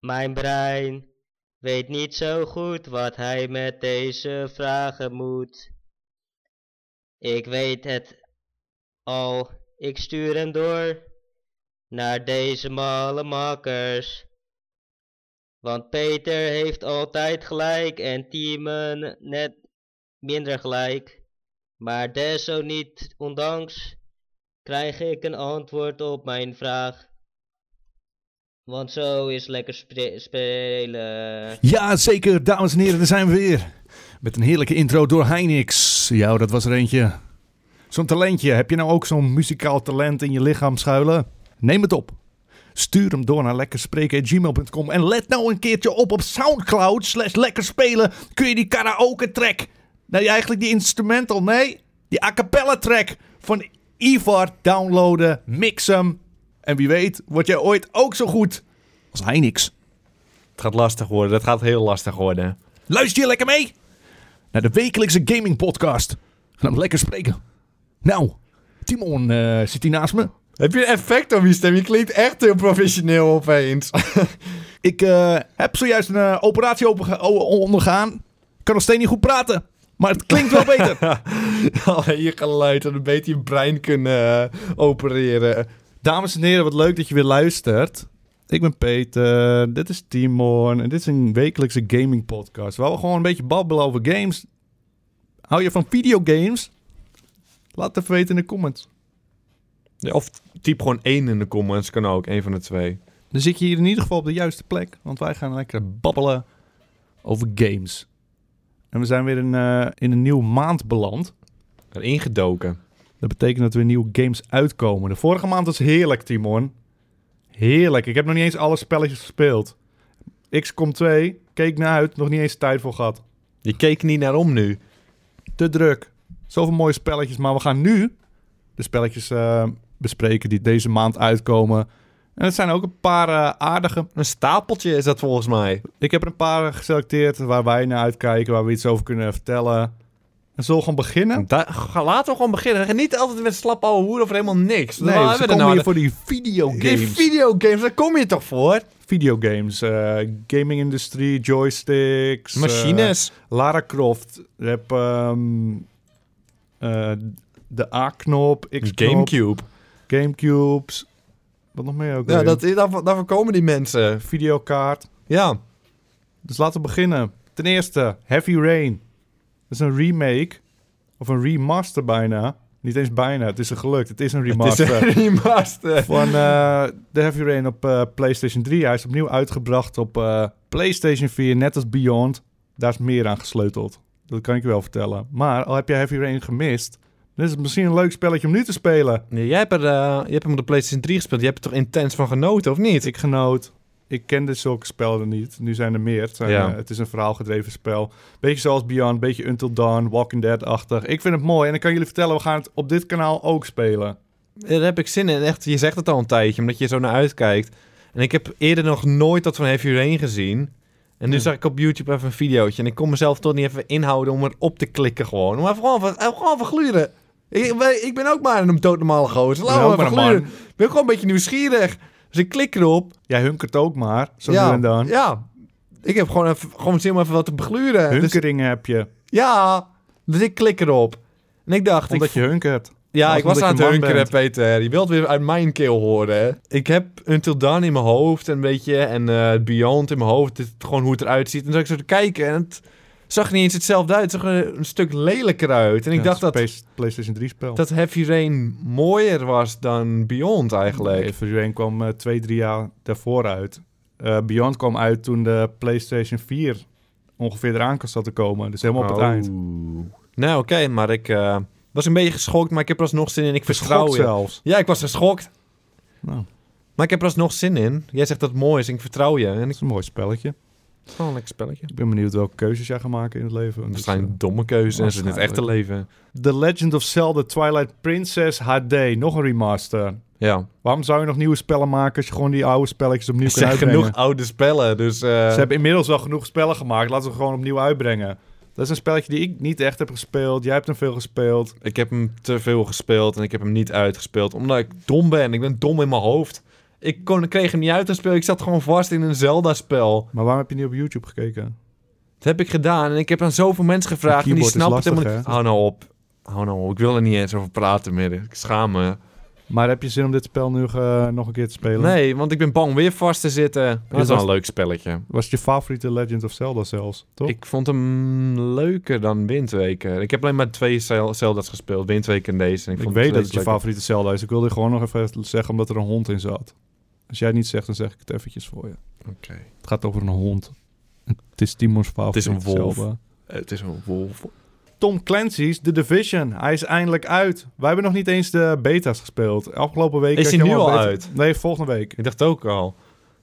Mijn brein weet niet zo goed wat hij met deze vragen moet. Ik weet het al, ik stuur hem door naar deze malle makkers. Want Peter heeft altijd gelijk en Timen net minder gelijk. Maar desondanks krijg ik een antwoord op mijn vraag. Want zo is lekker spre- spelen. Ja, zeker, dames en heren, daar zijn we weer. Met een heerlijke intro door Heinix. Ja, oh, dat was er eentje. Zo'n talentje. Heb je nou ook zo'n muzikaal talent in je lichaam schuilen? Neem het op. Stuur hem door naar lekkerspreken.gmail.com. En let nou een keertje op op Soundcloud slash lekker spelen. Kun je die karaoke track... Nee, eigenlijk die instrumental, nee. Die a cappella track van Ivar downloaden, mix hem. En wie weet, word jij ooit ook zo goed als Heinix. Het gaat lastig worden. Dat gaat heel lastig worden. Luister je lekker mee naar de wekelijkse gaming podcast. Laat hem lekker spreken. Nou, Timon eh, zit hier naast me. Heb je een effect op je stem? Je klinkt echt heel professioneel opeens. Ik eh, heb zojuist een eh, operatie openge- o- ondergaan. Ik kan nog steeds niet goed praten. Maar het klinkt wel beter. Alleen je geluid en een beetje je brein kunnen eh, opereren. Dames en heren, wat leuk dat je weer luistert. Ik ben Peter, dit is Timon en dit is een wekelijkse gaming podcast. Waar we gewoon een beetje babbelen over games. Hou je van videogames? Laat het even weten in de comments. Ja, Of typ gewoon één in de comments. Kan ook. één van de twee. Dan zit je hier in ieder geval op de juiste plek. Want wij gaan lekker babbelen over games. En we zijn weer in, eh, in een nieuwe maand beland. Erin gedoken. Dat betekent dat er weer nieuwe games uitkomen. De vorige maand was heerlijk, Timon. Heerlijk. Ik heb nog niet eens alle spelletjes gespeeld. XCOM 2, keek naar uit. Nog niet eens tijd voor gehad. Je keek er niet naar om nu. Te druk. Zoveel mooie spelletjes. Maar we gaan nu de spelletjes eh, bespreken die deze maand uitkomen. En het zijn ook een paar eh, aardige. Een stapeltje is dat volgens mij. Ik heb er een paar geselecteerd waar wij naar uitkijken, waar we iets over kunnen vertellen. En zullen we gewoon beginnen? Da- ga- laten we gewoon beginnen. Ga Niet altijd met slap ouwe hoer of helemaal niks. Nee, Waar we hebben we komen er hier nou? voor die Die videogames. videogames, daar kom je toch voor? videogames, eh, gaming-industrie, joysticks. eh, Machines. Lara Croft. Je hebt ehm, eh, de A-knop, X-knop. Eh, Gamecube. Gamecubes. Wat nog meer ook Ja, weer? dat, daarvoor, daarvoor komen die mensen. Videokaart. Ja. Dus laten we beginnen. Ten eerste, Heavy Rain. Dat is een remake. Of een remaster bijna. Niet eens bijna, het is er gelukt. Het is een remaster. Het is een remaster. Van eh, de Heavy Rain op eh, PlayStation 3. Hij is opnieuw uitgebracht op eh, PlayStation 4, net als Beyond. Daar is meer aan gesleuteld. Dat kan ik je wel vertellen. Maar al heb je Heavy Rain gemist, dan is het misschien een leuk spelletje om nu te spelen. Nee, jij hebt, er, eh, je hebt hem op de PlayStation 3 gespeeld. Je hebt er toch intens van genoten, of niet? Dus Ik genoot. Ik kende zulke spellen niet. Nu zijn er meer. Het, zijn, Ja. eh, het is een verhaalgedreven spel. Beetje zoals Beyond, beetje Until Dawn, Walking Dead-achtig. Ik vind het mooi en ik kan jullie vertellen, we gaan het op dit kanaal ook spelen. Daar heb ik zin in. Echt, je zegt het al een tijdje, omdat je er zo naar uitkijkt. En ik heb eerder nog nooit dat van Heavy Rain gezien. En nu Ja. zag ik op YouTube even een videootje. En ik kon mezelf toch niet even inhouden om erop te klikken gewoon. Om even gewoon van, eh, gewoon van gluren. Ik, wij- ik ben ook maar een doodnormale Ik gozer. ben Laten ook we even maar een gluren. Ik ben gewoon een beetje nieuwsgierig. Dus ik klik erop. Jij hunkert ook maar, zo ja, nu en dan. Ja. Ik heb gewoon, even, gewoon zin om even wat te begluren. Dus- Hunkeringen heb je, Ja, dus ik klik erop. En ik dacht... omdat ik, je hunkert. ja, of ik was omdat aan het je man hunkeren, bent. Peter. Je wilt weer uit mijn keel horen. hè? Ik heb Until Dawn in mijn hoofd en weet je... En eh, Beyond in mijn hoofd. Dit, gewoon hoe het eruit ziet. En toen zat ik zo te kijken en het zag er niet eens hetzelfde uit. Het zag er een stuk lelijker uit. En ik Ja, dacht het dat, is een PS- PlayStation 3 spel. dat Heavy Rain mooier was dan Beyond eigenlijk. Heavy Rain kwam eh, twee, drie jaar daarvoor uit. Eh, Beyond kwam uit toen de PlayStation 4 ongeveer eraan zat te komen. Dus helemaal op het Oh. eind. Nou, oké, maar ik eh, was een beetje geschokt. Maar ik heb er alsnog zin in. Ik vertrouw Geschokt je. zelfs. Ja, ik was geschokt. Nou, Maar ik heb er alsnog zin in. Jij zegt dat het mooi is en ik vertrouw je. En dat ik is een mooi spelletje. gewoon een lekker spelletje. Ik ben benieuwd welke keuzes jij gaat maken in het leven. Dus, Waarschijnlijk domme keuze en ze in het echte leven. eh, The Legend of Zelda Twilight Princess HD. Nog een remaster. Ja. Waarom zou je nog nieuwe spellen maken als je gewoon die oude spelletjes opnieuw Er kan zijn uitbrengen? genoeg oude spellen, dus... eh, eh, Ze hebben inmiddels wel genoeg spellen gemaakt. Laten we ze gewoon opnieuw uitbrengen. Dat is een spelletje die ik niet echt heb gespeeld. Jij hebt hem veel gespeeld. Ik heb hem te veel gespeeld en ik heb hem niet uitgespeeld. Omdat ik dom ben. Ik ben dom in mijn hoofd. Ik kon, kreeg hem niet uit te spelen. Ik zat gewoon vast in een Zelda-spel. Maar waarom heb je niet op YouTube gekeken? Dat heb ik gedaan. En ik heb aan zoveel mensen gevraagd. Een En die keyboard is snappen het lastig, helemaal niet. Hou nou op. Hou nou op. Ik wil er niet eens over praten meer. Ik schaam me. Maar heb je zin om dit spel nu eh, nog een keer te spelen? Nee, want ik ben bang weer vast te zitten. Dat is wel een leuk spelletje. Was het je favoriete Legend of Zelda zelfs, toch? Ik vond hem leuker dan Windweker. Ik heb alleen maar twee Zel- Zelda's gespeeld. Windweker en deze. En Ik, vond weet het dat het je leuker. favoriete Zelda is. Ik wilde gewoon nog even zeggen omdat er een hond in zat. Als jij het niet zegt, dan zeg ik het eventjes voor je. Oké. Het gaat over een hond. Het is Timons favoriete een wolf. Zelda. Het is een wolf. Tom Clancy's The Division. Hij is eindelijk uit. Wij hebben nog niet eens de beta's gespeeld. Afgelopen week... Is had hij je nu allemaal al beta- uit? Nee, volgende week. Ik dacht ook al.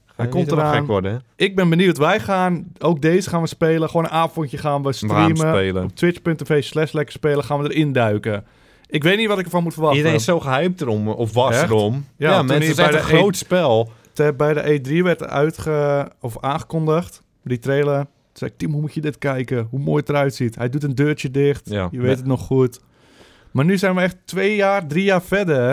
Ga Hij je komt niet helemaal eraan. gek worden, hè? Ik ben benieuwd. Wij gaan, ook deze gaan we spelen. Gewoon een avondje gaan we We gaan streamen. spelen. Op twitch.tv slash lekker spelen gaan we erin duiken. Ik weet niet wat ik ervan moet verwachten. Iedereen is zo gehyped erom, of was Echt? erom. Ja, Ja, toen mensen, hij het is echt bij een de groot spel. Te- eh, bij de E3 werd uitge, of aangekondigd, die trailer. Toen zei ik, Tim, hoe moet je dit kijken? Hoe mooi het eruit ziet. Hij doet een deurtje dicht. Ja. Je weet het nog goed. Maar nu zijn we echt twee jaar, drie jaar verder.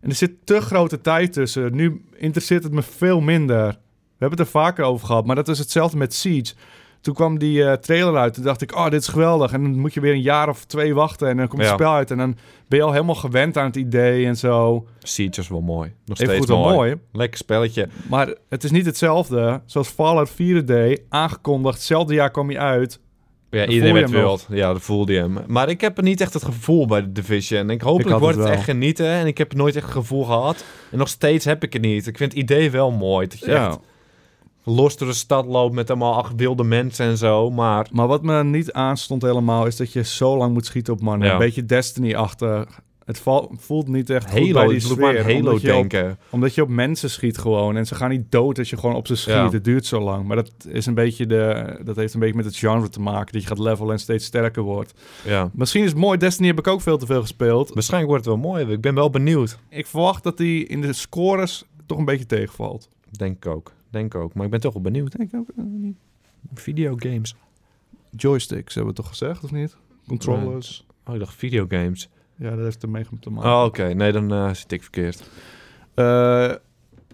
En er zit te grote tijd tussen. Nu interesseert het me veel minder. We hebben het er vaker over gehad. Maar dat is hetzelfde met Siege. Toen kwam die eh, trailer uit. Toen dacht ik, oh, dit is geweldig. En dan moet je weer een jaar of twee wachten. En dan komt het Ja. spel uit. En dan ben je al helemaal gewend aan het idee en zo. Siege is wel mooi. Nog Even steeds goed wel mooi. mooi. Lekker spelletje. Maar het is niet hetzelfde. Zoals Fallout 4 deed, aangekondigd. Hetzelfde jaar kwam hij uit. Ja, voel je iedereen werd hem wild. Ja, dat voelde je hem. Maar ik heb er niet echt het gevoel bij de Division. Ik, hopelijk Ik had wordt het het wel. echt genieten. En ik heb nooit echt het gevoel gehad. En nog steeds heb ik het niet. Ik vind het idee wel mooi. Dat je echt los door de stad loopt met allemaal acht wilde mensen en zo. Maar Maar wat me niet aanstond helemaal... is dat je zo lang moet schieten op mannen. Ja. Een beetje Destiny-achter. Het val- voelt niet echt goed bij Halo, die ik doe maar sfeer. aan Halo omdat, je op, denken. omdat je op mensen schiet gewoon. En ze gaan niet dood als je gewoon op ze schiet. Ja. Het duurt zo lang. Maar dat, is een beetje de, dat heeft een beetje met het genre te maken. Dat je gaat levelen en steeds sterker wordt. Ja. Misschien is het mooi. Destiny heb ik ook veel te veel gespeeld. Waarschijnlijk wordt het wel mooi. Ik ben wel benieuwd. Ik verwacht dat die in de scores toch een beetje tegenvalt. Denk ik ook. Denk ik ook. Maar ik ben toch wel benieuwd. Ik ook eh, niet. Videogames. joysticks, hebben we toch gezegd, of niet? Controllers. Oh, ik dacht videogames. Ja, dat heeft ermee te maken. Oh, oké. Nee, dan eh, zit ik verkeerd. Eh,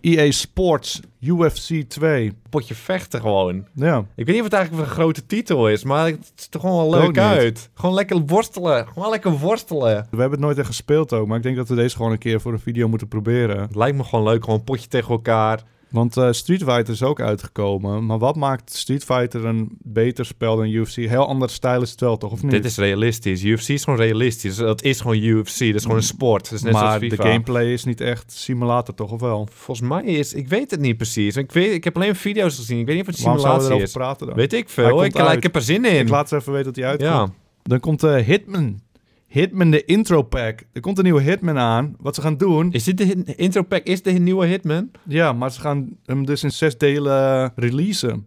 EA Sports, UFC 2. Potje vechten gewoon. Ja, Ik weet niet of het eigenlijk een grote titel is, maar het ziet er gewoon wel Ook leuk niet. uit. Gewoon lekker worstelen. Gewoon lekker worstelen. we hebben het nooit echt gespeeld ook, maar ik denk dat we deze gewoon een keer voor een video moeten proberen. Het lijkt me gewoon leuk. Gewoon een potje tegen elkaar. Want eh, Street Fighter is ook uitgekomen, maar wat maakt Street Fighter een beter spel dan UFC? Heel ander stijl is het wel, toch? Of niet? Dit is realistisch. UFC is gewoon realistisch. Dus Dat is gewoon UFC. Dat is gewoon een sport. Dat is net maar zoals FIFA. de gameplay is niet echt simulator, toch? Of wel? Volgens mij is... Ik weet het niet precies. Ik, weet, ik heb alleen video's gezien. Ik weet niet of het Waarom zouden we simulatie erover is. praten dan? Weet ik Hij veel. komt Ik, ik uit. heb er zin in. Ik laat ze even weten dat hij uitkomt. ja. Dan komt eh, Hitman. Hitman, de intro pack. Er komt een nieuwe Hitman aan. Wat ze gaan doen. Is dit de hit- intro pack? Is de nieuwe Hitman? Ja, maar ze gaan hem dus in zes delen releasen.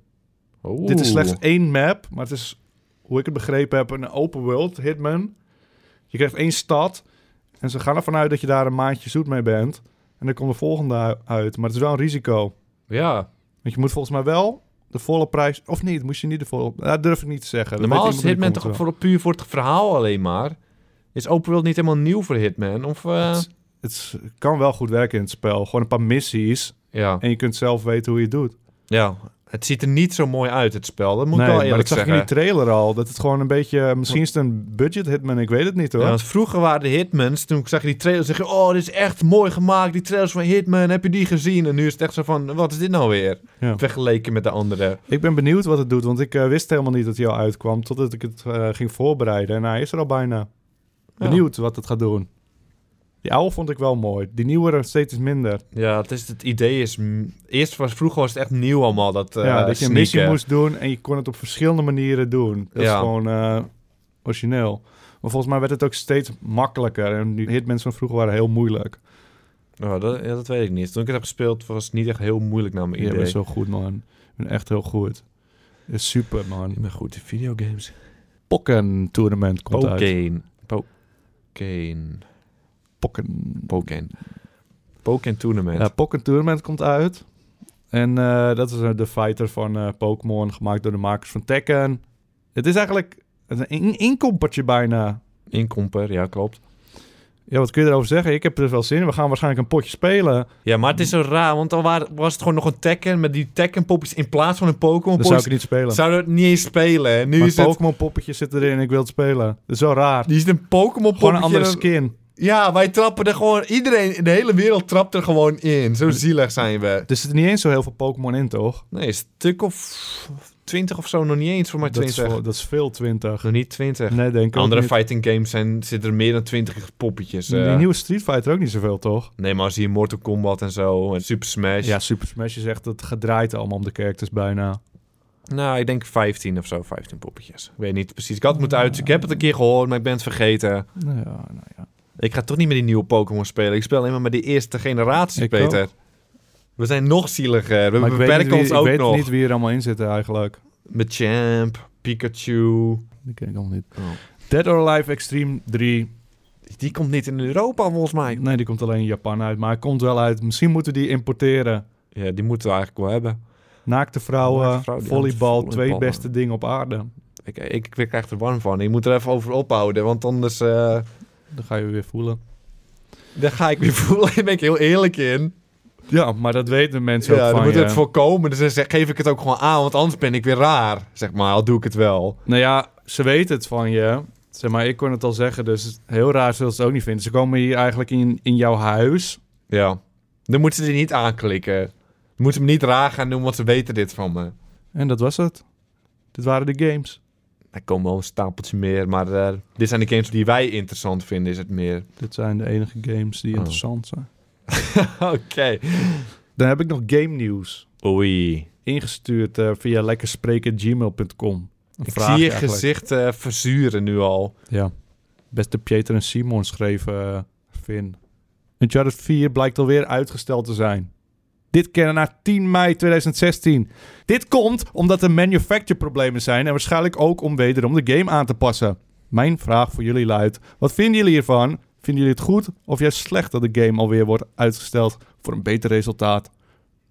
Dit is slechts één map. Maar het is, hoe ik het begrepen heb, een open world Hitman. Je krijgt één stad. En ze gaan ervan uit dat je daar een maandje zoet mee bent. En dan komt de volgende u- uit. Maar het is wel een risico. Ja. Want je moet volgens mij wel de volle prijs. Of niet, moest je niet de volle. Dat durf ik niet te zeggen. Dat Normaal weet is iemand in de Hitman toch comments wel. voor, puur voor het verhaal alleen maar. Is open world niet helemaal nieuw voor Hitman? Of, eh, Het- Het is- kan wel goed werken in het spel. Gewoon een paar missies. ja. En je kunt zelf weten hoe je het doet. ja. Het ziet er niet zo mooi uit, het spel. Dat moet nee, ik wel maar eerlijk dat zag je eh, in zeggen. die trailer al. Dat het gewoon een beetje... eh, Misschien is het een budget hitman, ik weet het niet hoor. Ja, want vroeger waren de Hitmans, toen zag je die trailers, zeg je... Oh, dit is echt mooi gemaakt, die trailers van Hitman, heb je die gezien? En nu is het echt zo van, wat is dit nou weer? Ja. Vergeleken met de andere. Ik ben benieuwd wat het doet, want ik eh, wist helemaal niet dat hij al uitkwam... totdat ik het eh, ging voorbereiden. En hij is er al bijna. Benieuwd wat het gaat doen. Die oude vond ik wel mooi. Die nieuwere steeds minder. Ja, het, is, het idee is... mm, Eerst was, vroeger was het echt nieuw allemaal, dat eh ja, dat je een sneaken. missie moest doen en je kon het op verschillende manieren doen. Dat is Ja. gewoon eh, origineel. Maar volgens mij werd het ook steeds makkelijker. En die hitmans van vroeger waren heel moeilijk. Nou, dat, ja, dat weet ik niet. Toen ik het heb gespeeld, was het niet echt heel moeilijk naar mijn Je idee. bent zo goed, man. Je bent echt heel goed. Je is super, man. Ik ben goed in videogames. Pokken Tournament komt uit. Pokeen. Pokeen. Pokken. Pokeen. Pokeen Tournament. Ja, Pokken Tournament komt uit. En eh, dat is eh, de fighter van eh, Pokémon, gemaakt door de makers van Tekken. Het is eigenlijk een in- inkoppertje bijna. Inkomper, ja klopt. Ja, wat kun je erover zeggen? Ik heb er wel zin in. We gaan waarschijnlijk een potje spelen. Ja, maar het is zo raar, want dan wa- was het gewoon nog een Tekken met die Tekken-poppies in plaats van een Pokémon. Dan zou ik het niet spelen. Zouden we het niet eens spelen. hè? Nu Mijn is het, Pokémon poppetje zit erin. Ik wil het spelen. Dat is zo raar. die is een Pokémon Gewoon een andere skin. Ja, wij trappen er gewoon... Iedereen in de hele wereld trapt er gewoon in. Zo zielig zijn we. Er zitten niet eens zo heel veel Pokémon in, toch? Nee, een stuk of twintig of zo. Nog niet eens voor mij Dat is, twintig. wel- dat is veel 20. Nog niet twintig. Nee, denk ik ook Andere niet. fighting games zijn, zitten er meer dan twintig poppetjes. eh. Die nieuwe Street Fighter ook niet zoveel, toch? Nee, maar als hier Mortal Kombat en zo. En Super Smash. Ja, Super Smash is echt het gedraaid allemaal om de characters bijna. Nou, ik denk 15 of zo, 15 poppetjes. Ik weet niet precies. Ik had het moeten uit. Ik heb het een keer gehoord, maar ik ben het vergeten. Nou ja, nou ja. Ik ga toch niet meer die nieuwe Pokémon spelen. Ik speel alleen maar met die eerste generatie, Ik Peter. We zijn nog zieliger. We Maar ik weet, niet beperken wie, ons ik ook weet nog. niet wie er allemaal in zit eigenlijk. Met Champ, Pikachu. Die ken ik allemaal niet. Oh. Dead or Alive Extreme 3. Die komt niet in Europa, volgens mij. Nee, die komt alleen in Japan uit, maar hij komt wel uit. Misschien moeten die importeren. Ja, die moeten we eigenlijk wel hebben. Naakte vrouwen, Naakte vrouwen, die volleybal, hadden twee volleyballen. beste dingen op aarde. Ik, ik, ik krijg er warm van. Ik moet er even over ophouden, want anders... eh Dat ga je weer voelen. daar ga ik weer voelen. Daar ben ik heel eerlijk in. Ja, maar dat weten mensen ja, ook dan van moet je. het voorkomen. Dus dan zeg- geef ik het ook gewoon aan, want anders ben ik weer raar. Zeg maar, al doe ik het wel. Nou ja, ze weten het van je. Zeg maar, ik kon het al zeggen, dus heel raar zullen ze het ook niet vinden. Ze komen hier eigenlijk in, in jouw huis. Ja. Dan moeten ze die niet aanklikken. Dan moeten ze me niet raar gaan doen, want ze weten dit van me. En dat was het. Dit waren de games. Er komen wel een stapeltje meer, maar eh, dit zijn de games die wij interessant vinden, is het meer. Dit zijn de enige games die Oh. interessant zijn. Oké. Dan heb ik nog game nieuws. Oei. Ingestuurd eh, via lekkerspreken.gmail.com. Een Ik vraagje zie je eigenlijk. gezicht eh, verzuren nu al. Ja. Beste Pieter en Simon schreven eh, Finn. Uncharted 4 blijkt alweer uitgesteld te zijn. Dit keer naar 10 mei 2016. Dit komt omdat er manufacture problemen zijn en waarschijnlijk ook om wederom de game aan te passen. Mijn vraag voor jullie luidt: wat vinden jullie hiervan? Vinden jullie het goed of juist slecht dat de game alweer wordt uitgesteld voor een beter resultaat?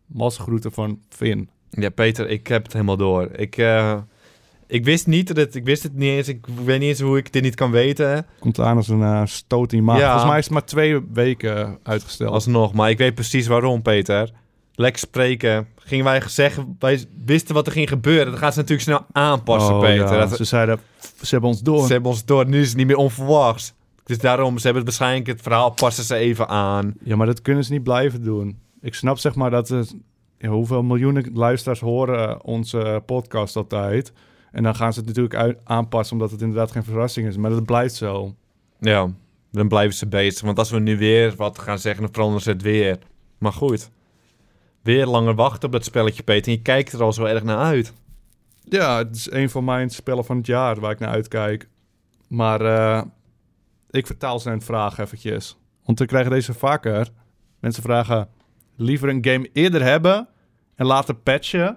Massagroeten van Finn. Ja, Peter, ik heb het helemaal door. Ik, eh, ik wist niet dat het... Ik wist het niet eens. Ik weet niet eens hoe ik dit niet kan weten. Komt aan als een eh, stoot in je maag. Ja. Volgens mij is het maar twee weken uitgesteld. Alsnog, maar ik weet precies waarom, Peter. Lekker spreken. Gingen wij zeggen... Wij wisten wat er ging gebeuren. Dat gaan ze natuurlijk snel aanpassen, Oh, Peter. ja. Dat, Ze zeiden, "Pff, ze hebben ons door. Ze hebben ons door, nu is het niet meer onverwachts. Dus daarom, ze hebben het waarschijnlijk het verhaal, passen ze even aan. Ja, maar dat kunnen ze niet blijven doen. Ik snap zeg maar dat het, ja, hoeveel miljoenen luisteraars horen eh, onze podcast altijd. En dan gaan ze het natuurlijk uit, aanpassen omdat het inderdaad geen verrassing is. Maar dat blijft zo. Ja, dan blijven ze bezig. Want als we nu weer wat gaan zeggen, dan veranderen ze het weer. Maar goed, weer langer wachten op dat spelletje, Peter. En je kijkt er al zo erg naar uit. Ja, het is een van mijn spellen van het jaar waar ik naar uitkijk. Maar eh, ik vertaal zijn vraag eventjes. Want we krijgen deze vaker. Mensen vragen liever een game eerder hebben en later patchen.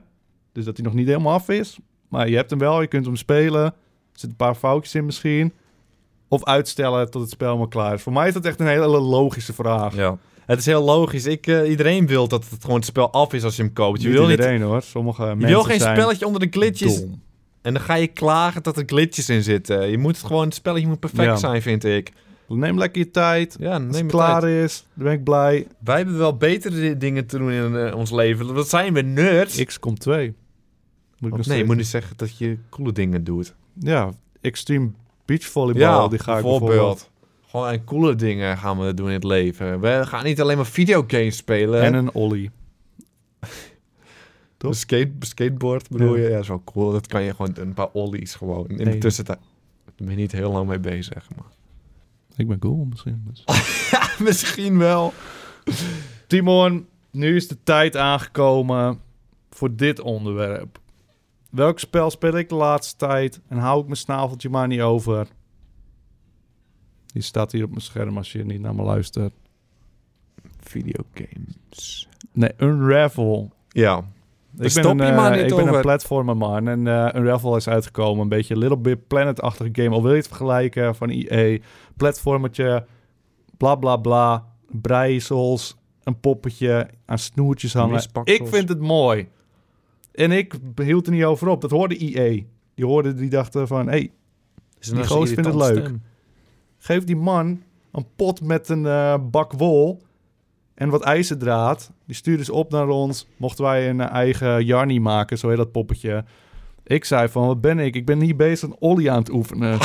Dus dat hij nog niet helemaal af is. Maar je hebt hem wel, je kunt hem spelen. Er zitten een paar foutjes in misschien. Of uitstellen tot het spel helemaal klaar is. Voor mij is dat echt een hele logische vraag. Ja. Het is heel logisch. Ik, eh, iedereen wil dat het gewoon het spel af is als je hem koopt. Je wil, niet, iedereen hoor. Sommige je mensen wil geen zijn spelletje onder de glitches. dom. En dan ga je klagen dat er glitches in zitten. Je moet het gewoon, het spelletje moet perfect Ja. zijn, vind ik. Neem lekker je tijd. Ja, neem Als je het tijd. klaar is, dan ben ik blij. Wij hebben wel betere di- dingen te doen in eh, ons leven. Wat zijn we nerds? XCOM 2. Moet ik nog nee, je steeds- moet niet zeggen dat je coole dingen doet. Ja, Extreme Beach Volleyball, die ga ik bijvoorbeeld. Gewoon aan coole dingen gaan we doen in het leven. We gaan niet alleen maar videogames spelen. En een ollie. Een skate, skateboard bedoel Ja. je? Ja, dat is wel cool. Dat kan je gewoon een paar ollies gewoon. In Nee. de tussentijd. Daar ben je niet heel lang mee bezig. Maar. Ik ben cool misschien. dus. Misschien wel. Timon, nu is de tijd aangekomen voor dit onderwerp. Welk spel speel ik de laatste tijd en hou ik mijn snaveltje maar niet over? Die staat hier op mijn scherm als je niet naar me luistert. Videogames. Nee, Unravel. Ja. Ik ben, Stop een, je maar eh, niet ik ben over. een platformer man en eh Unravel is uitgekomen. Een beetje Little Big Planet-achtige game. Al wil je het vergelijken van EA. Platformertje, bla bla bla. Breisels, een poppetje aan snoertjes hangen. Mispaksels. Ik vind het mooi. En ik hield er niet over op. Dat hoorde E EA. Die hoorde, die dachten van... hey, Is er nou die zo'n gozer vindt het irritante leuk. stem? geef die man een pot met een eh, bak wol en wat ijzerdraad. Die stuurde ze op naar ons. Mochten wij een eh, eigen Jarni maken, zo heet dat poppetje. Ik zei van, wat ben ik? Ik ben hier bezig een ollie aan het oefenen.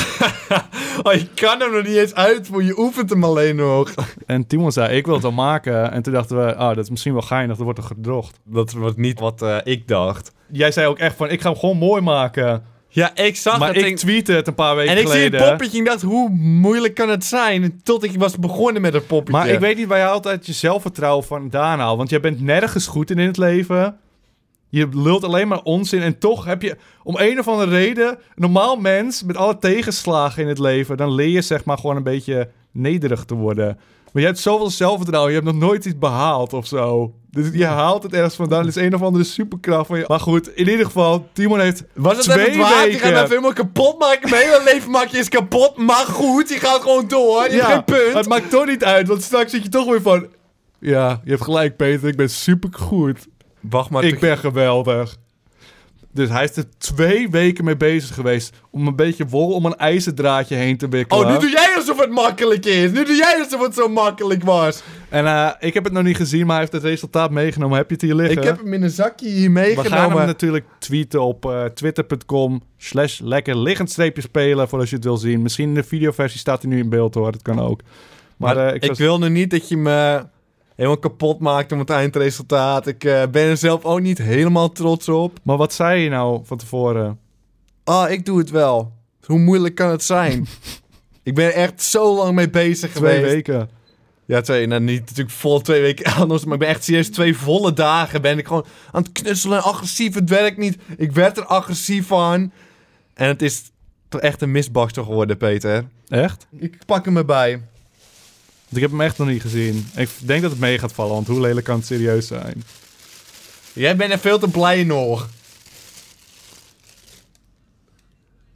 Oh, je kan hem nog niet eens uit, voor je oefent hem alleen nog. en Timon zei, ik wil het al maken. En toen dachten we, ah, dat is misschien wel geinig, dat wordt er gedrocht. Dat was niet wat eh, ik dacht. Jij zei ook echt van, ik ga hem gewoon mooi maken. Ja, ik zag maar het ik ding- tweette het een paar weken En ik zie geleden. het poppetje en dacht, hoe moeilijk kan het zijn? Tot ik was begonnen met het poppetje. Maar ik weet niet waar je altijd je zelfvertrouwen vandaan haalt. Want jij bent nergens goed in in het leven. Je lult alleen maar onzin. En toch heb je om een of andere reden... een normaal mens met alle tegenslagen in het leven... dan leer je zeg maar gewoon een beetje nederig te worden. Maar je hebt zoveel zelfvertrouwen. Je hebt nog nooit iets behaald of zo. Dus je haalt het ergens vandaan. Het is een of andere superkracht van je. Maar goed, in ieder geval... Timon heeft Was het twee even waard? Je gaat weken... hem even helemaal kapot maken. Mijn hele leven maak je eens kapot. Maar goed, je gaat gewoon door. Je hebt geen punt. Het maakt toch niet uit, want straks zit je toch weer van... Ja, je hebt gelijk, Peter. Ik ben supergoed. Wacht maar. Ik ben geweldig. Dus hij is er twee weken mee bezig geweest... om een beetje wol om een ijzerdraadje heen te wikkelen. Oh, nu doe jij alsof het makkelijk is. Nu doe jij alsof het zo makkelijk was. En eh, ik heb het nog niet gezien, maar hij heeft het resultaat meegenomen. Heb je het hier liggen? Ik heb hem in een zakje eh, hier We gaan hem meegenomen. natuurlijk tweeten op eh, twitter.com slash lekker liggend streepje spelen... voor als je het wil zien. Misschien in de videoversie staat hij nu in beeld hoor, dat kan ook. Maar, eh, ik, ik was- wil nu niet dat je me helemaal kapot maakt om het eindresultaat. Ik eh, ben er zelf ook niet helemaal trots op. maar wat zei je nou van tevoren? Ah, ik doe het wel. Hoe moeilijk kan het zijn? ik ben er echt zo lang mee bezig Twee geweest. weken. Ja, twee. Nou, niet natuurlijk vol twee weken aan ons, maar ik ben echt serieus twee volle dagen ben ik gewoon aan het knutselen. Agressief, het werkt niet. Ik werd er agressief van. En het is toch echt een misbakster geworden, Peter. Echt? Ik pak hem erbij. Want ik heb hem echt nog niet gezien. Ik denk dat het mee gaat vallen, want hoe lelijk kan het serieus zijn? Jij bent er veel te blij nog.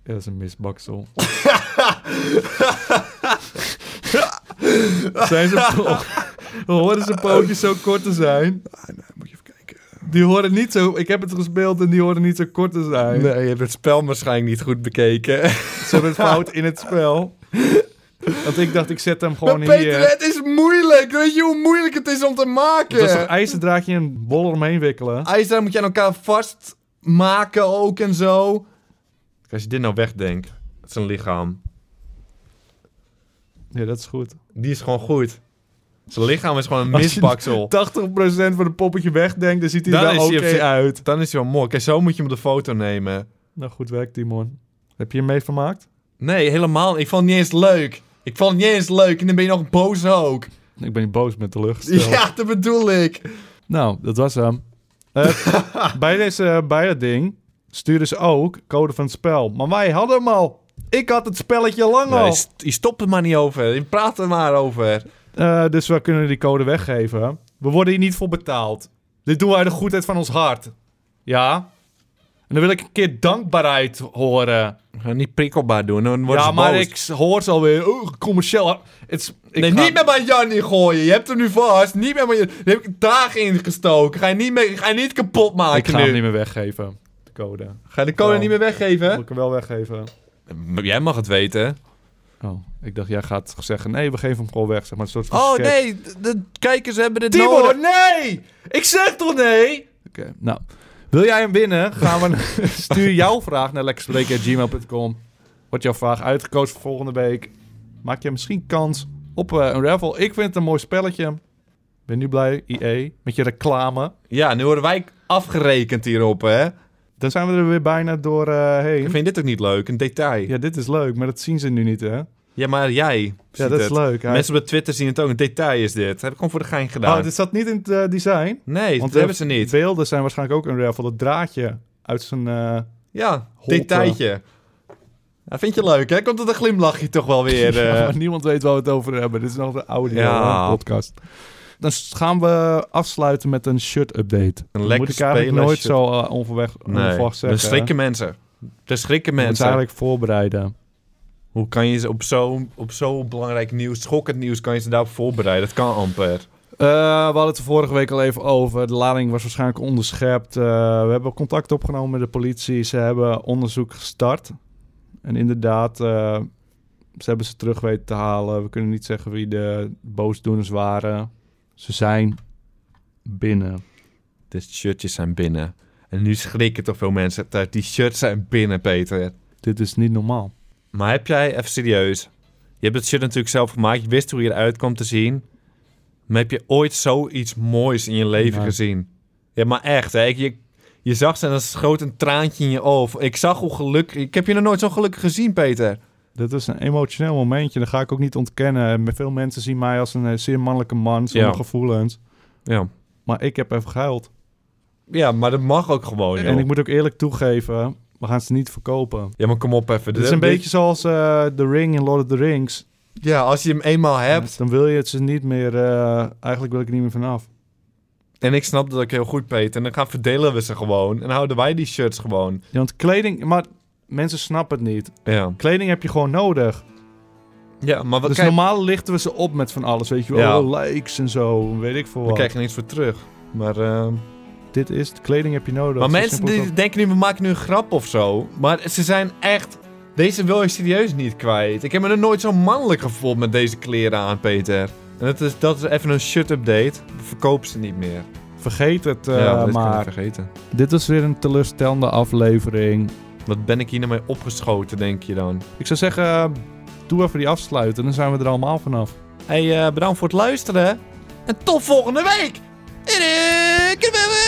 Ja, dat is een misbaksel. zijn ze po- horen zijn pootjes zo kort te zijn? Ah, moet je even kijken. Die horen niet zo... Ik heb het gespeeld en die horen niet zo kort te zijn. Nee, je hebt het spel waarschijnlijk niet goed bekeken. Ze hebben het fout in het spel. Want ik dacht, ik zet hem Maar gewoon Peter, hier. het is moeilijk. Weet je hoe moeilijk het is om te maken? Dat is een ijzerdraadje en een bol eromheen wikkelen. IJsdraad moet je aan elkaar vastmaken ook en zo. Als je dit nou wegdenkt, het is een lichaam. Ja, dat is goed. 80% Die is gewoon goed. Zijn lichaam is gewoon een Als je- misbaksel. van het poppetje wegdenkt, dan ziet hij Dan er is wel hij oké op zijn- uit. Dan is hij wel mooi. Kijk, zo moet je hem op de foto nemen. Nou, goed werk, Timon. Heb je hem mee vermaakt? Nee, helemaal niet. Ik vond het niet eens leuk. Ik vond het niet eens leuk. En dan ben je nog boos ook. Ik ben niet boos met de lucht. Ja, dat bedoel ik. Nou, dat was hem. Eh, bij, deze, bij dat ding stuurden ze ook code van het spel. Maar wij hadden hem al. Ik had het spelletje lang al. Nee, st- je stopt er maar niet over. Je praat er maar over. Eh, dus we kunnen die code weggeven. We worden hier niet voor betaald. Dit doen we uit de goedheid van ons hart. Ja. En dan wil ik een keer dankbaarheid horen. Ga niet prikkelbaar doen. Dan worden ja, ze maar boos. ik hoor ze alweer. Oh, commercieel. Het is- ik nee, ga- niet meer bij Jannie gooien. Je hebt hem nu vast. Niet meer bij Jannie. Daar heb ik dagen in gestoken. Ga je niet, meer, ga je niet kapot maken Ik ga nu. hem niet meer weggeven. De code. Ga je de code Oh. niet meer Moet weggeven? ik hem wel weggeven? Jij mag het weten. Oh, ik dacht, jij gaat zeggen: nee, we geven hem gewoon weg. Zeg maar, een soort van Oh sketch. nee, de, de kijkers hebben dit Timo, nodig. nee! Ik zeg toch nee? Oké, nou. Wil jij hem winnen? Gaan we stuur jouw vraag naar lekkerspreken.gmail.com. Wordt jouw vraag uitgekozen voor volgende week. Maak je misschien kans op eh, een raffle. Ik vind het een mooi spelletje. Ben nu blij, IE, met je reclame. Ja, nu worden wij afgerekend hierop, hè. Dan zijn we er weer bijna door eh, Ik heen. vind dit ook niet leuk, een detail. Ja, Ja, dit is leuk, maar dat zien ze nu niet, hè? maar jij Ja, ziet dat is het. leuk. Hij- Mensen op de Twitter zien het ook, een detail is dit. heb ik gewoon voor de gein gedaan. Oh, dit zat niet in het eh, design. Nee, dat Want eh, hebben ze niet. Beelden zijn waarschijnlijk ook een raffle. Dat draadje uit zijn... eh, Ja, Holte. detailtje. Ja, vind je leuk, hè? Komt het een glimlachje toch wel weer? eh? Ja, maar niemand weet waar we het over hebben. Dit is nog de oude Ja. podcast. Dan s- gaan we afsluiten met een shirt-update. Dat lekker Moet ik eigenlijk spelen nooit shirt. zo eh, onverweg, nee, onverwacht dan zeggen. schrikken mensen. Dan schrikken mensen. mensen. eigenlijk voorbereiden. Hoe kan je ze op zo'n op zo belangrijk nieuws, schokkend nieuws, kan je ze daarop voorbereiden? Dat kan amper. Eh, we hadden het er vorige week al even over. De lading was waarschijnlijk onderschept. Eh, we hebben contact opgenomen met de politie. Ze hebben onderzoek gestart. En inderdaad, eh, Ze hebben ze terug weten te halen. We kunnen niet zeggen wie de boosdoeners waren. Ze zijn binnen. De shirtjes zijn binnen. En nu schrikken toch veel mensen uit. Die shirts zijn binnen, Peter. Dit is niet normaal. Maar heb jij, even serieus. Je hebt het shirt natuurlijk zelf gemaakt. Je wist hoe je eruit kwam te zien. Maar heb je ooit zoiets moois in je leven Nee. gezien? Ja, maar echt. Hè? Ik- Je, je zag ze en dan schoot een traantje in je oog. Ik zag hoe gelukkig... Ik heb je nog nooit zo gelukkig gezien, Peter. Dit is een emotioneel momentje. Dat ga ik ook niet ontkennen. En Veel mensen zien mij als een eh, zeer mannelijke man. Zonder Ja. gevoelens. Ja. Maar ik heb even gehuild. Ja, maar dat mag ook gewoon, joh. En ik moet ook eerlijk toegeven, we gaan ze niet verkopen. Ja, maar kom op even. Het is een beetje zoals eh The Ring in Lord of the Rings. Ja, als je hem eenmaal hebt. Dan wil je het ze niet meer... eh, eigenlijk wil ik er niet meer vanaf. En ik snap dat ook heel goed, Peter. En dan gaan verdelen we ze gewoon. En houden wij die shirts gewoon. Ja, want kleding... Maar mensen snappen het niet. Ja. Kleding heb je gewoon nodig. Ja, maar wat dus krijg, normaal lichten we ze op met van alles. Weet je wel, Ja. oh, likes en zo. Weet ik veel we wat. krijgen er niks voor terug. Maar, ehm, Dit is het. Kleding heb je nodig. maar Zo mensen simpel is die dat. denken nu, we maken nu een grap of zo. Maar ze zijn echt... Deze wil je serieus niet kwijt. Ik heb me nog nooit zo mannelijk gevoeld met deze kleren aan, Peter. En dat is, dat is even een shut-update. We verkopen ze niet meer. Vergeet het eh, ja, dat kan ik maar. vergeten. Dit was weer een teleurstellende aflevering. Wat ben ik hier nou mee opgeschoten, denk je dan? Ik zou zeggen, eh, doe even die afsluiten. Dan zijn we er allemaal vanaf. Hey, eh, bedankt voor het luisteren. En tot volgende week! Iedereen, kunnen we-